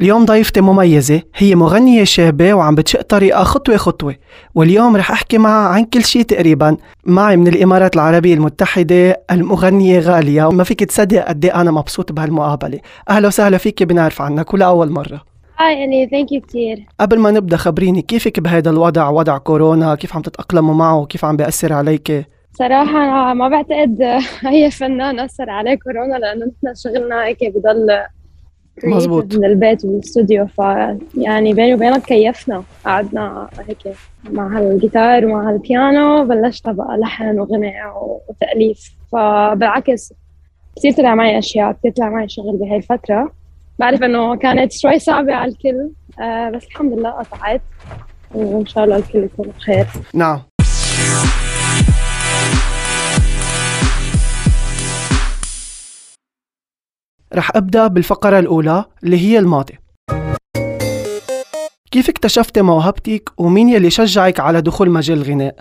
اليوم ضيفتي مميزة هي مغنية شابة وعم بتشق طريقها خطوة خطوة واليوم رح أحكي معها عن كل شيء تقريبا معي من الإمارات العربية المتحدة المغنية غالية وما فيك تصدق قد إيه أنا مبسوط بهالمقابلة أهلا وسهلا فيك بنعرف عنك ولا أول مرة هاي أني ثانك يو كثير قبل ما نبدأ خبريني كيفك بهذا الوضع وضع كورونا كيف عم تتأقلموا معه وكيف عم بيأثر عليك صراحة ما بعتقد أي فنان أثر عليه كورونا لأنه نحن شغلنا هيك بضل مزبوط. creative من البيت والاستوديو ف يعني بيني وبينك كيفنا قعدنا هيك مع هالجيتار ومع هالبيانو بلشت بقى لحن وغنى وتأليف فبالعكس كثير طلع معي أشياء كثير طلع معي شغل بهاي الفترة بعرف إنه كانت شوي صعبة على الكل آه، بس الحمد لله قطعت وإن شاء الله الكل يكون بخير نعم رح أبدأ بالفقرة الأولى اللي هي الماضي كيف اكتشفتي موهبتك ومين يلي شجعك على دخول مجال الغناء؟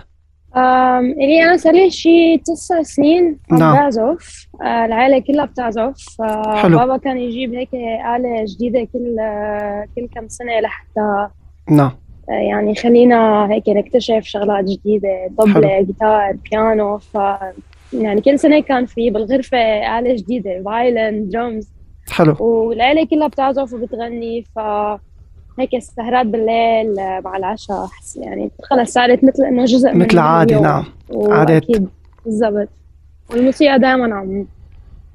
أم، إلي أنا صار لي شي تسع سنين عم نعم. بعزف آه، العائلة كلها بتعزف آه، حلو. بابا كان يجيب هيك آلة جديدة كل آه، كل كم سنة لحتى آه، نعم يعني يخلينا هيك نكتشف شغلات جديدة طبلة جيتار بيانو ف يعني كل سنة كان في بالغرفة آلة جديدة فايلن درمز حلو والعيلة كلها بتعزف وبتغني ف هيك السهرات بالليل آه، مع العشاء أحس يعني خلص صارت مثل انه جزء من مثل عادي اليوم. نعم عادات. وأكيد بالضبط والموسيقى دائما عم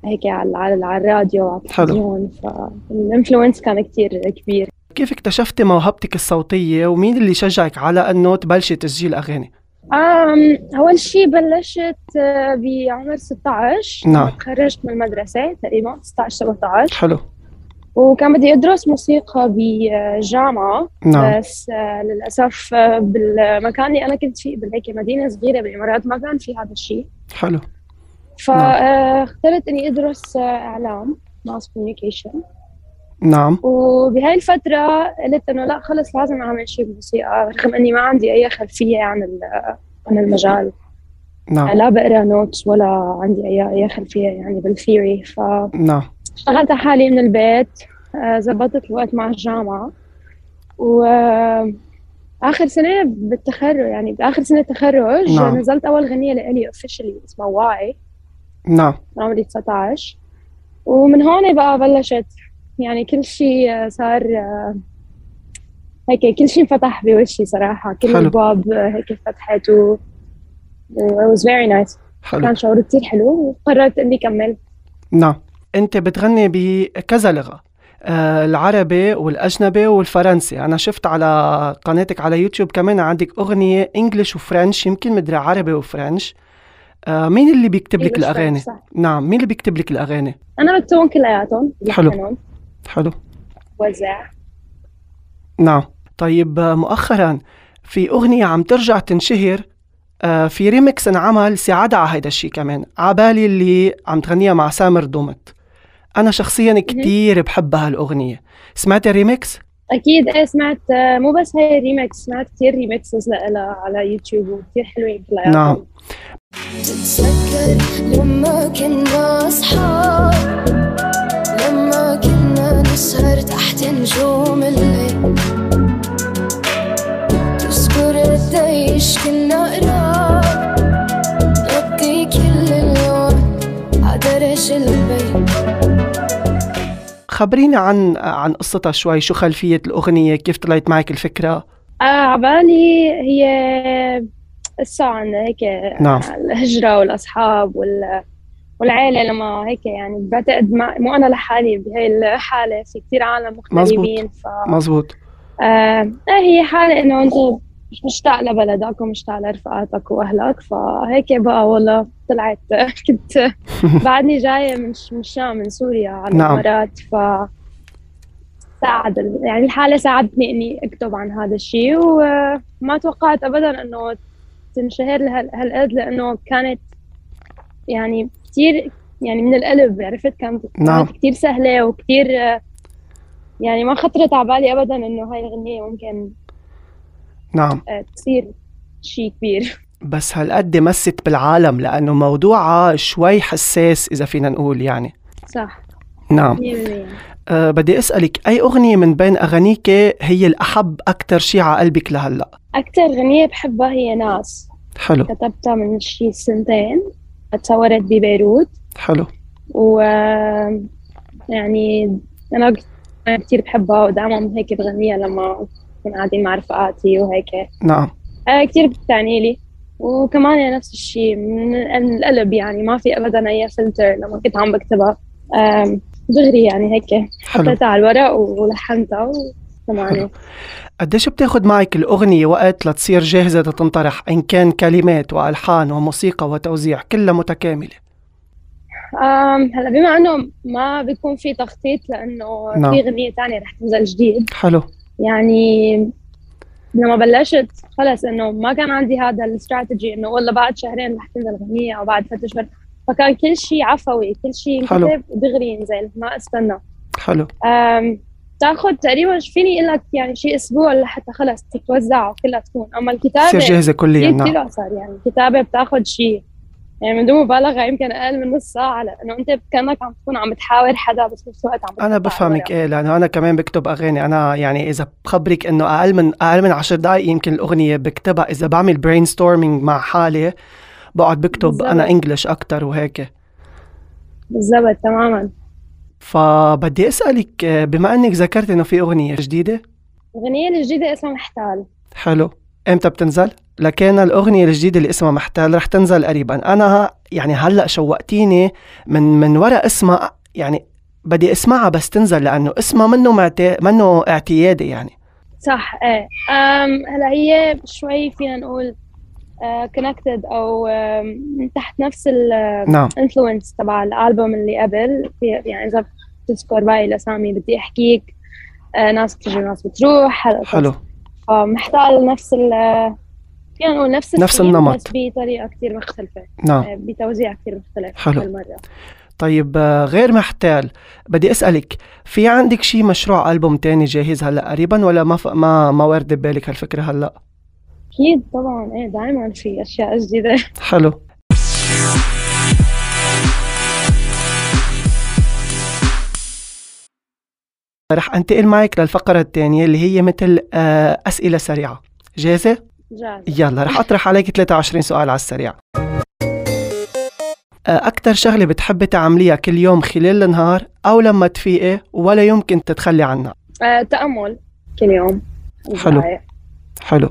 هيك على على على الراديو على حلو. التلفزيون فالانفلونس كان كتير كبير كيف اكتشفتي موهبتك الصوتية ومين اللي شجعك على أنه تبلشي تسجيل أغاني؟ أم أول شيء بلشت آه، بعمر 16 نعم. تخرجت من المدرسة تقريبا 16 17 حلو وكان بدي أدرس موسيقى بجامعة نعم بس آه، للأسف آه، بالمكان اللي أنا كنت فيه بالهيك مدينة صغيرة بالإمارات ما كان في هذا آه، الشيء حلو نعم. فاخترت اني ادرس آه، اعلام ماس كوميونيكيشن نعم وبهاي الفترة قلت انه لا خلص لازم اعمل شيء بموسيقى رغم اني ما عندي اي خلفية عن ال- عن المجال نعم لا بقرا نوتس ولا عندي اي اي خلفية يعني بالثيوري فاشتغلت نعم على حالي من البيت آه، زبطت الوقت مع الجامعة و آه، آخر سنة بالتخرج يعني بآخر سنة تخرج نعم. نزلت أول غنية لإلي اوفشلي اسمها واعي نعم من عمري 19 ومن هون بقى بلشت يعني كل شيء صار آه، هيك كل شيء انفتح بوشي صراحة كل حلو. الأبواب آه، هيك فتحت و و- it was very nice حلو كان شعور كتير حلو وقررت إني كمل نعم أنت بتغني بكذا لغة آه، العربي والأجنبي والفرنسي أنا شفت على قناتك على يوتيوب كمان عندك أغنية إنجليش وفرنش يمكن مدري عربي وفرنش آه، مين اللي بيكتب لك English الأغاني؟ French، صح. نعم مين اللي بيكتب لك الأغاني؟ أنا بكتبهم كلياتهم حلو. بلحنهم، حلو وزع نعم طيب آه، مؤخرا في أغنية عم ترجع تنشهر آه، في ريمكس انعمل ساعدها على هيدا الشيء كمان عبالي اللي عم تغنيها مع سامر دومت أنا شخصيا كتير بحبها هالأغنية سمعت الريمكس؟ أكيد إيه سمعت آه، مو بس هاي الريمكس سمعت كتير ريمكسز لإلها على يوتيوب وكتير حلوين كلياتهم نعم. تتذكر لما كنا أصحاب لما كنا نسهر تحت نجوم الليل تذكر قديش كنا قراب نقضي كل الوقت عدرج البيت خبريني عن عن قصتها شوي شو خلفية الأغنية كيف طلعت معك الفكرة آه عبالي هي قصة عن هيك نعم. الهجرة والأصحاب وال والعيلة لما هيك يعني بعتقد ما مو أنا لحالي بهي الحالة في كتير عالم مغتربين ف مزبوط آه آه، هي حالة إنه أنت مش مشتاق لبلدك ومشتاق لرفقاتك وأهلك فهيك بقى والله طلعت كنت بعدني جاية من ش- من الشام من سوريا على نعم. الإمارات ف ساعد يعني الحالة ساعدتني إني أكتب عن هذا الشيء وما توقعت أبدا إنه تنشهر لهال- هالقد لأنه كانت يعني كتير يعني من القلب عرفت كانت نعم. كانت كتير سهلة وكتير آه، يعني ما خطرت على بالي أبدا إنه هاي الأغنية ممكن نعم آه، تصير شيء كبير بس هالقد مست بالعالم لأنه موضوعها شوي حساس إذا فينا نقول يعني صح نعم 100% أه بدي اسالك اي اغنيه من بين اغانيك هي الاحب اكثر شيء على قلبك لهلا أكتر أغنية بحبها هي ناس حلو كتبتها من شي سنتين اتصورت ببيروت حلو و آه، يعني أنا كتير بحبها ودائما هيك بغنيها لما بكون قاعدين مع رفقاتي وهيك نعم آه، كتير بتعني لي وكمان هي نفس الشيء من من القلب يعني ما في ابدا اي فلتر لما كنت عم بكتبها آم، دغري يعني هيك حلو حطيتها على الورق ولحنتها وسمعني قديش بتاخد معك الأغنية وقت لتصير جاهزة تنطرح إن كان كلمات وألحان وموسيقى وتوزيع كلها متكاملة آم، هلا بما انه ما بيكون في تخطيط لانه نعم. في اغنيه ثانيه رح تنزل جديد حلو يعني لما بلشت خلص انه ما كان عندي هذا الاستراتيجي انه والله بعد شهرين رح تنزل اغنيه او بعد ثلاث اشهر فكان كل شيء عفوي كل شيء حلو. انكتب ودغري ينزل ما استنى حلو أم، تاخذ تقريبا شو فيني اقول لك يعني شيء اسبوع لحتى خلص تتوزع وكلها تكون اما تصير الكتابه جاهزة كليا كثير نعم كثير اثر يعني الكتابه بتاخذ شيء يعني من دون مبالغه يمكن اقل من نص ساعه لانه انت كانك عم تكون عم تحاور حدا بس بنفس الوقت عم أنا بتطلع على بفهمك إيه لأنه أنا كمان بكتب أغاني أنا يعني إذا بخبرك إنه أقل من أقل من عشر دقايق يمكن الأغنية بكتبها إذا بعمل برين ستورمينج مع حالي بقعد بكتب بالزبط. أنا إنجلش أكتر وهيك ورق. بالضبط تماما فبدي أسألك آه، بما إنك ذكرت إنه في أغنية جديدة الاغنيه الجديده اسمها محتال حلو امتى بتنزل؟ لكن الأغنية الجديدة اللي اسمها محتال رح تنزل قريبا أنا يعني هلأ شوقتيني من من وراء اسمها يعني بدي اسمعها بس تنزل لأنه اسمها منه معتي... منه اعتيادي يعني صح ايه أم هلا هي شوي فينا نقول آه، كونكتد او أم، تحت نفس نعم الانفلونس تبع الالبوم اللي قبل في يعني اذا بتذكر باقي الاسامي بدي احكيك آه، ناس بتجي وناس بتروح هلا حلو محتال نفس ال فينا نقول نفس نفس الثيم، النمط. بس بطريقه كثير مختلفه نعم آه، بتوزيع كثير مختلف حلو. هالمره طيب آه، غير محتال بدي أسألك في عندك شي مشروع ألبوم تاني جاهز هلأ قريبا ولا ما ف... ما ما ورد ببالك هالفكرة هلأ؟ اكيد طبعا ايه دائما في اشياء جديده حلو رح انتقل معك للفقرة الثانية اللي هي مثل آه، أسئلة سريعة جاهزة؟ جاهزه يلا رح أطرح عليك 23 سؤال على السريع آه، أكثر شغلة بتحبي تعمليها كل يوم خلال النهار أو لما تفيقي ولا يمكن تتخلي عنها آه، تامل كل يوم حلو. دقايق. حلو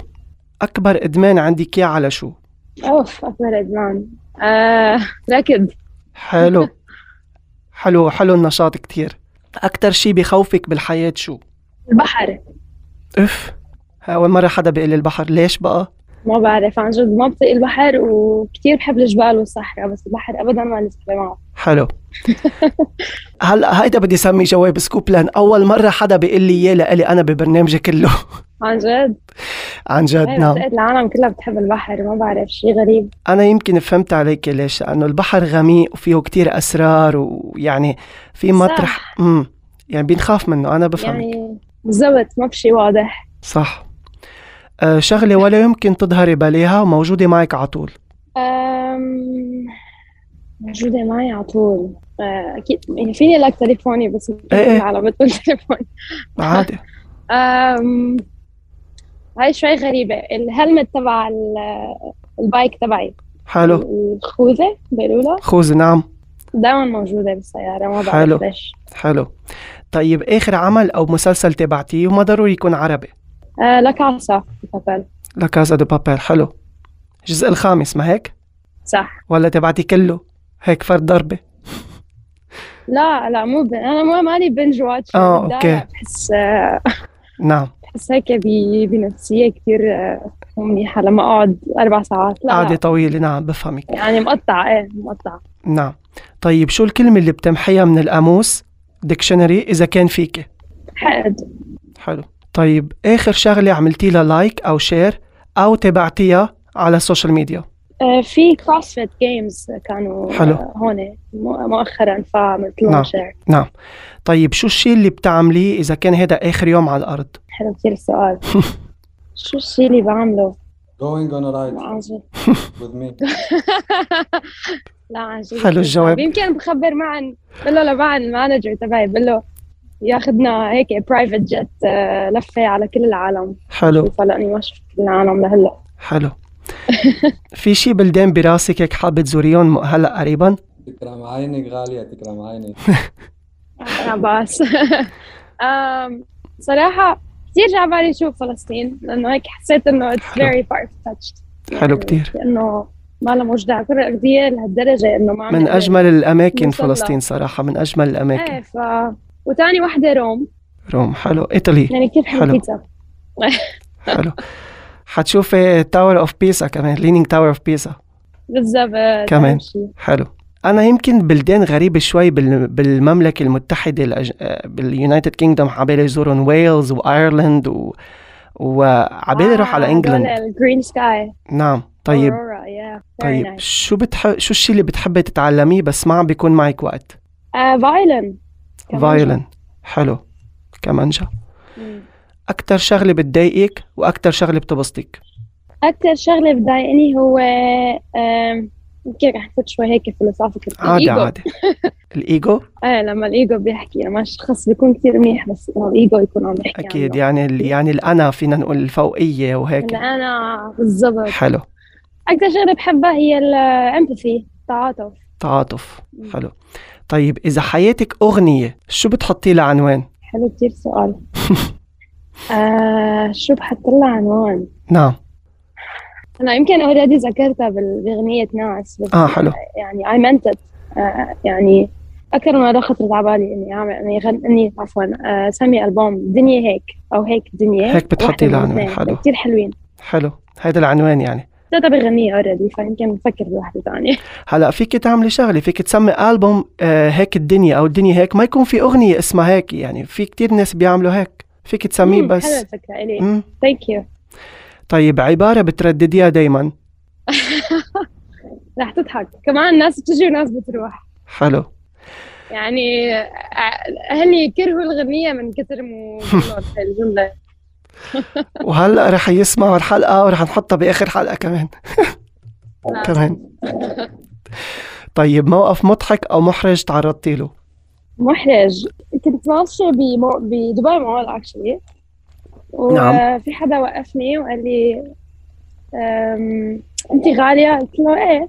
أكبر إدمان عندك إياه على شو؟ اوف اكبر ادمان آه، ركض حلو حلو حلو النشاط كتير أكتر شي بخوفك بالحياة شو؟ البحر اف أول مرة حدا بيقول لي البحر ليش بقى؟ ما بعرف عن جد ما بطيق البحر وكتير بحب الجبال والصحراء بس البحر ابدا ما لسه معه حلو هلا هيدا بدي سمي جواب سكوب لان اول مره حدا بيقول لي اياه لإلي انا ببرنامجي كله عن جد عن جد ايه نعم بس العالم كلها بتحب البحر ما بعرف شيء غريب انا يمكن فهمت عليك ليش لانه البحر غميق وفيه كتير اسرار ويعني في مطرح امم يعني بنخاف منه انا بفهم يعني بالضبط ما في شيء واضح صح أه شغله ولا يمكن تظهري بليها وموجوده معك على طول أم... موجودة معي على طول أه، اكيد يعني فيني لك تليفوني بس إيه. على بطل تليفون عادي أم... هاي شوي غريبة الهلمت تبع ال- البايك تبعي حلو الخوذة بيقولوا خوذ نعم دائما موجودة بالسيارة ما حلو. بعرف ليش حلو طيب اخر عمل او مسلسل تبعتيه وما ضروري يكون عربي أه، لك عصا بابل لا كازا دو بابيل حلو الجزء الخامس ما هيك صح ولا تبعتي كله هيك فرد ضربة لا لا مو ب... انا ما مالي بنج واتش آه، بتضايق، أوكي. بحس أه، نعم بحس هيك ب- بنفسية كتير آه، مو منيحة لما أقعد أربع ساعات لا, قعدة لا طويلة نعم بفهمك يعني مقطعة إيه مقطعة نعم طيب شو الكلمة اللي بتمحيها من القاموس ديكشنري إذا كان فيك حقد حلو طيب آخر شغلة عملتي لها لايك أو شير أو تبعتيها على السوشيال ميديا آه، في كروسفيت جيمز كانوا حلو. آه، هون مو- مؤخرا فعملت نعم. لهم شير طيب شو الشيء اللي بتعمليه إذا كان هذا آخر يوم على الأرض حلو كتير السؤال شو الشيء اللي بعمله؟ Going on a لا ride عن جد with me. لا عن جد حلو الجواب. يمكن بخبر معن بقول له لمعن المانجر تبعي بقول له ياخذنا هيك برايفت جت لفه على كل العالم حلو بس هلا اني ما شفت كل العالم لهلا حلو في شي بلدان براسك هيك حابة تزوريهم م- هلا قريبا؟ تكرم عينك غالية تكرم عينك آه، عباس أم، صراحة كثير جا على بالي شوف فلسطين لأنه هيك حسيت إنه it's حلو. very far fetched حلو كتير لأنه ما لها مجدع كل الأرضية لهالدرجة إنه ما عم من نقدر- أجمل الأماكن نوصل لها. فلسطين صراحة من أجمل إيه الأماكن ف وثاني وحدة روم روم حلو إيطالي يعني كيف حلو. حكيتها حلو حتشوفي تاور اوف بيزا كمان لينينج تاور اوف بيزا بالضبط كمان. أهم شي. حلو انا يمكن بلدان غريبه شوي بال- بالمملكه المتحده الأج... آه، باليونايتد كينجدوم عبالي يزورون ويلز وايرلند و... وعبالي اروح على آه، انجلند هدول الجرين سكاي نعم طيب أورورا yeah very طيب nice. شو بتح... شو الشيء اللي بتحبي تتعلميه بس ما عم بيكون معك وقت آه فايلن فايولين حلو كمانجا مم. اكثر شغله بتضايقك واكثر شغله بتبسطك أكثر شغلة بتضايقني هو آم، يمكن رح نفوت شوي هيك فلسفة عادي عادي الايجو ايه لما الايجو بيحكي لما الشخص بيكون كثير منيح بس لما الايجو يكون عم يحكي اكيد يعني ال- يعني الانا فينا نقول الفوقيه وهيك اللي انا بالضبط حلو اكثر شغله بحبها هي الامباثي التعاطف تعاطف حلو طيب إذا حياتك أغنية شو بتحطي لها عنوان؟ حلو كثير سؤال آه شو بحط لها عنوان نعم انا يمكن اوريدي ذكرتها بال- باغنيه ناس بس آه حلو يعني اي منت آه يعني اكثر من مره خطرت على بالي اني اعمل اني غن... اني عفوا آه سمي البوم دنيا هيك او هيك دنيا هيك بتحطي واحدة لها من عنوان، الاثنين. حلو. كثير حلوين حلو هيدا العنوان يعني ثلاثة بغنية اوريدي فيمكن نفكر بواحدة ثانية هلا فيك تعملي شغلة فيك تسمي ألبوم آه هيك الدنيا أو الدنيا هيك ما يكون في أغنية اسمها هيك يعني في كتير ناس بيعملوا هيك فيك تسميه مم، حلوة بس الفكرة إلي مم. ثانك يو طيب عبارة بتردديها دايما رح تضحك كمان ناس بتجي وناس بتروح حلو يعني أع- أهلي كرهوا الغنية من كثر مو هاي الجملة وهلا رح يسمعوا الحلقة ورح نحطها بآخر حلقة كمان كمان طيب موقف مضحك أو محرج تعرضتي له محرج كنت ماشية بمو... بدبي مول اكشلي نعم. وفي حدا وقفني وقال لي أم... انت غالية قلت له ايه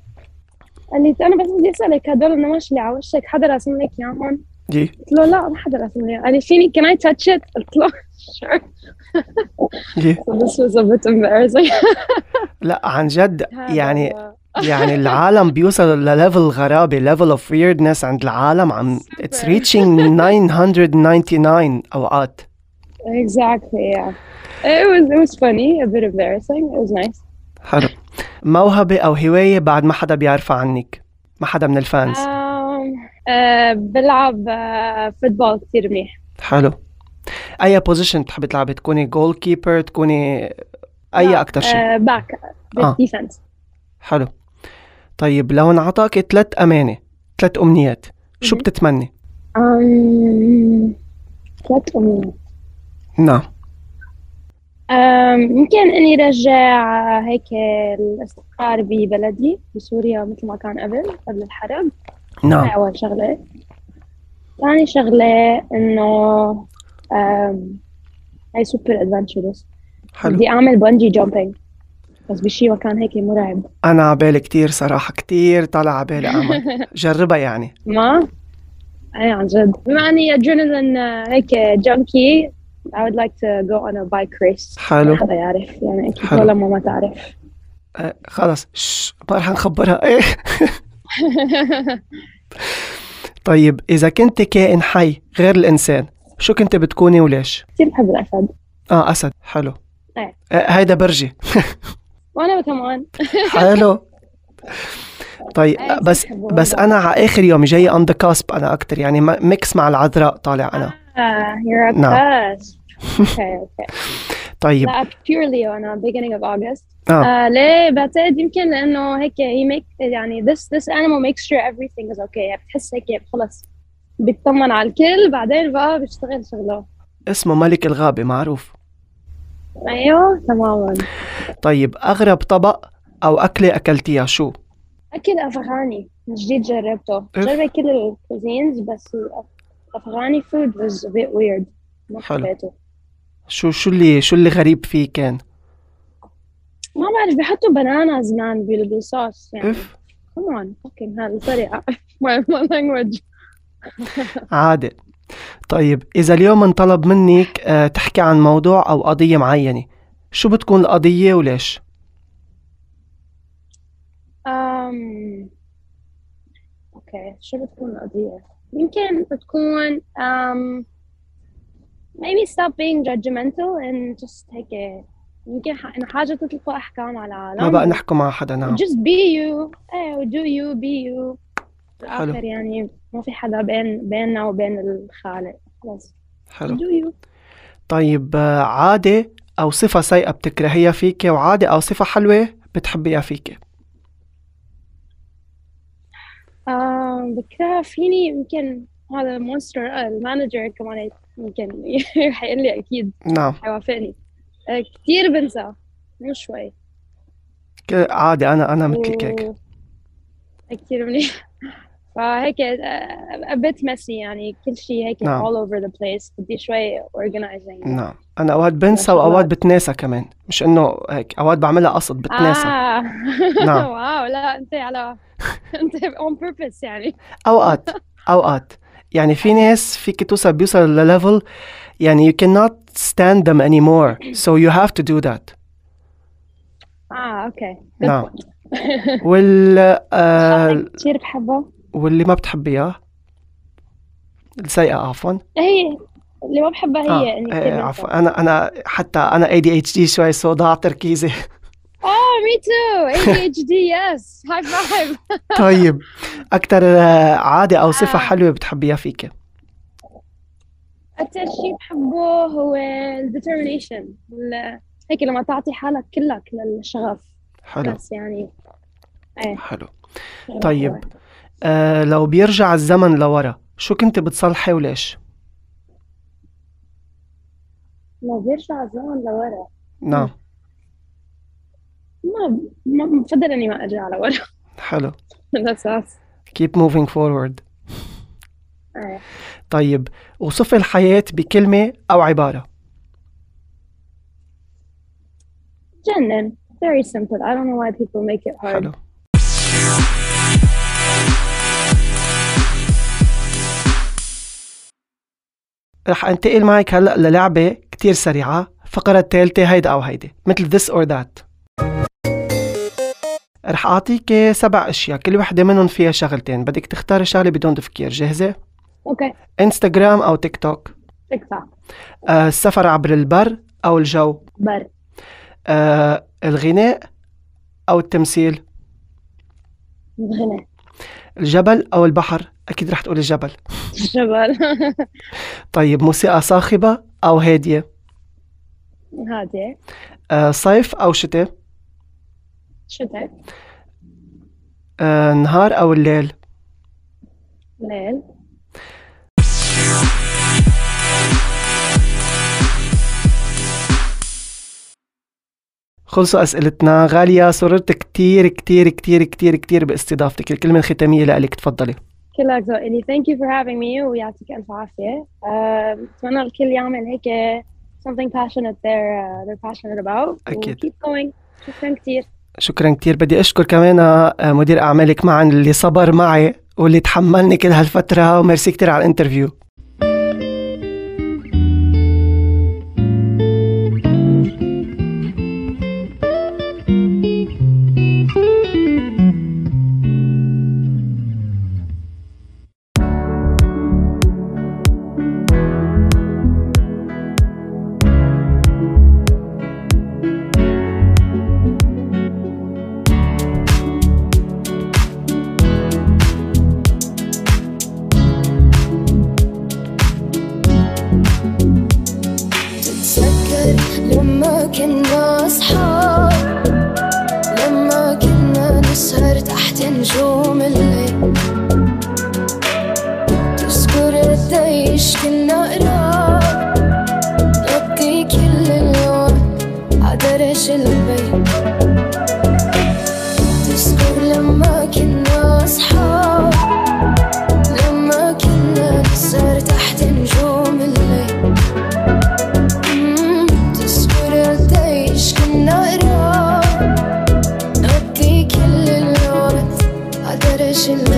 قال لي انا بس بدي اسالك هدول النماش اللي على وشك حدا راسم لك اياهم؟ جي قلت له لا ما حدا راسم لي قال لي فيني can I touch it؟ قلت له sure جي so this was a bit embarrassing لا عن جد يعني يعني العالم بيوصل لليفل غرابة ليفل اوف ويردنس عند العالم عم اتس Super. ريتشينج 999 اوقات Exactly, yeah. It was it was funny, a bit embarrassing. It was nice. حلو موهبة او هواية بعد ما حدا بيعرفها عنك ما حدا من الفانز Um, uh, بلعب uh, فوتبول كثير منيح. حلو اي بوزيشن بتحبي تلعبي تكوني جول كيبر تكوني اي اكتر شيء باك آه. ديفنس. حلو طيب لو انعطاك ثلاث امانة ثلاث امنيات شو مهم. بتتمني؟ ثلاث أمنيات. نعم Um, يمكن إني رجع هيك الاستقرار ببلدي بسوريا مثل ما كان قبل قبل الحرب. هاي نعم أول شغلة. ثاني شغلة إنه um, هاي سوبر ادفنتشرس حلو بدي اعمل بنجي جامبينج بس بشي مكان هيك مرعب انا عبالي كتير صراحة كتير طلع عبالي اعمل جربها يعني ما اي عن جد بما اني ادرينالين هيك جانكي euh, I would like to go on a bike race حلو. حدا يعرف يعني اكيد حلو. ولا ما ما تعرف آه، خلص شش، ما رح نخبرها ايه طيب اذا كنت كائن حي غير الانسان شو كنت بتكوني وليش؟ كثير بحب الاسد اه اسد حلو إيه. آه، هيدا برجي وانا كمان حلو طيب إيه، بس بحبه بس والله. انا على اخر يوم جاي اون ذا كاسب انا اكتر يعني ما- ميكس مع العذراء طالع انا آه Ah, you're a نعم. cusp okay okay طيب لا purely on uh, beginning of August Uh, اه آه ليه بعتقد يمكن لانه هيك he make يعني this this animal makes sure everything is okay بتحس هيك خلص بيطمن على الكل بعدين بقى بيشتغل شغله اسمه ملك الغابة معروف ايوه تماما طيب اغرب طبق او اكلة اكلتيها شو؟ اكل افغاني من جديد جربته إف. جربت كل الكوزينز بس Afghani food was a bit weird ما حلو. حبيته شو شو اللي شو اللي غريب فيه كان ما بعرف بيحطوا بناناز مان بال- بالصوص يعني اف كمان اوكي هالطريقة my my language عادي طيب إذا اليوم انطلب منك آه، تحكي عن موضوع أو قضية معينة شو بتكون القضية وليش؟ أم... اوكي Um, شو بتكون القضية؟ يمكن بتكون um, maybe stop being judgmental and just هيك يمكن ح- إنه حاجة تطلقوا أحكام على العالم ما بقى نحكي مع حدا نعم just be you ايه do you be you حلو. بالآخر يعني ما في حدا بين بيننا وبين الخالق خلص حلو do you طيب آه، عادة أو صفة سيئة بتكرهيها فيك وعادة أو صفة حلوة بتحبيها فيك آه بكره فيني يمكن هذا المونستر المانجر كمان يمكن حيقول لي أكيد نعم حيوافقني آه كتير بنسى مو شوي ك- عادي أنا أنا مثلك هيك و- كتير منيح فهيك آه، a bit messy يعني كل شيء هيك نعم. all over the place بدي شوي organizing نعم أنا أوقات بنسى وأوقات بتناسى كمان مش إنه هيك أوقات بعملها قصد بتناسى آه نعم. واو لا أنت على أنت on purpose يعني اوقات اوقات يعني في ناس فيك توصل بيوصل لليفل يعني you cannot stand them anymore so you have to do that آه أوكي good نعم point. وال آه شغلة كتير بحبها واللي ما بتحبيها السيئة عفوا هي اللي ما بحبها هي يعني آه. اني كثير إيه، بنسى. عفوا انا انا حتى انا ADHD شوي سو ضاع تركيزي اه مي تو ADHD يس هاي فايف طيب اكثر عادة او صفة آه. حلوة بتحبيها فيك اكثر شيء بحبه هو الديترمينيشن هيك لما تعطي حالك كلك للشغف حلو بس يعني حلو طيب آه لو بيرجع الزمن لورا شو كنت بتصلحي وليش؟ لو بيرجع الزمن لورا نعم ما ما بفضل اني ما ارجع لورا حلو من الاساس keep moving forward إيه. طيب وصف الحياة بكلمة أو عبارة جنن very simple I don't know why people make it hard حلو رح انتقل معك هلا للعبة كتير سريعة الفقرة الثالثة هيدا أو هيدا مثل this or that رح أعطيك سبع أشياء كل وحدة منهم فيها شغلتين بدك تختاري شغلة بدون تفكير جاهزة؟ اوكي انستغرام أو تيك توك تيك توك آه، السفر عبر البر أو الجو بر آه، الغناء أو التمثيل غنى الجبل أو البحر أكيد رح تقول الجبل الجبل طيب موسيقى صاخبة أو هادية هادي آه، صيف أو شتاء شتاء آه، نهار أو الليل ليل خلصوا أسئلتنا غالية سررت كتير كتير كتير كتير كتير باستضافتك الكلمة الختامية لك تفضلي كلك ذوق إلي thank you for having me ويعطيك ألف عافية آه، بتمنى الكل يعمل هيك something passionate they're, uh, they're passionate about أكيد. و keep going شكرا كتير شكرا كتير بدي أشكر كمان آه، مدير أعمالك معا اللي صبر معي واللي تحملني كل هالفترة وميرسي كتير على الانترفيو تتذكر لما كنا أصحاب لما كنا نسهر تحت نجوم الليل تذكر قديش كنا قراب نقضي كل الوقت عدرج البيت تذكر لما كنا أصحاب لما كنا نسهر تحت البيت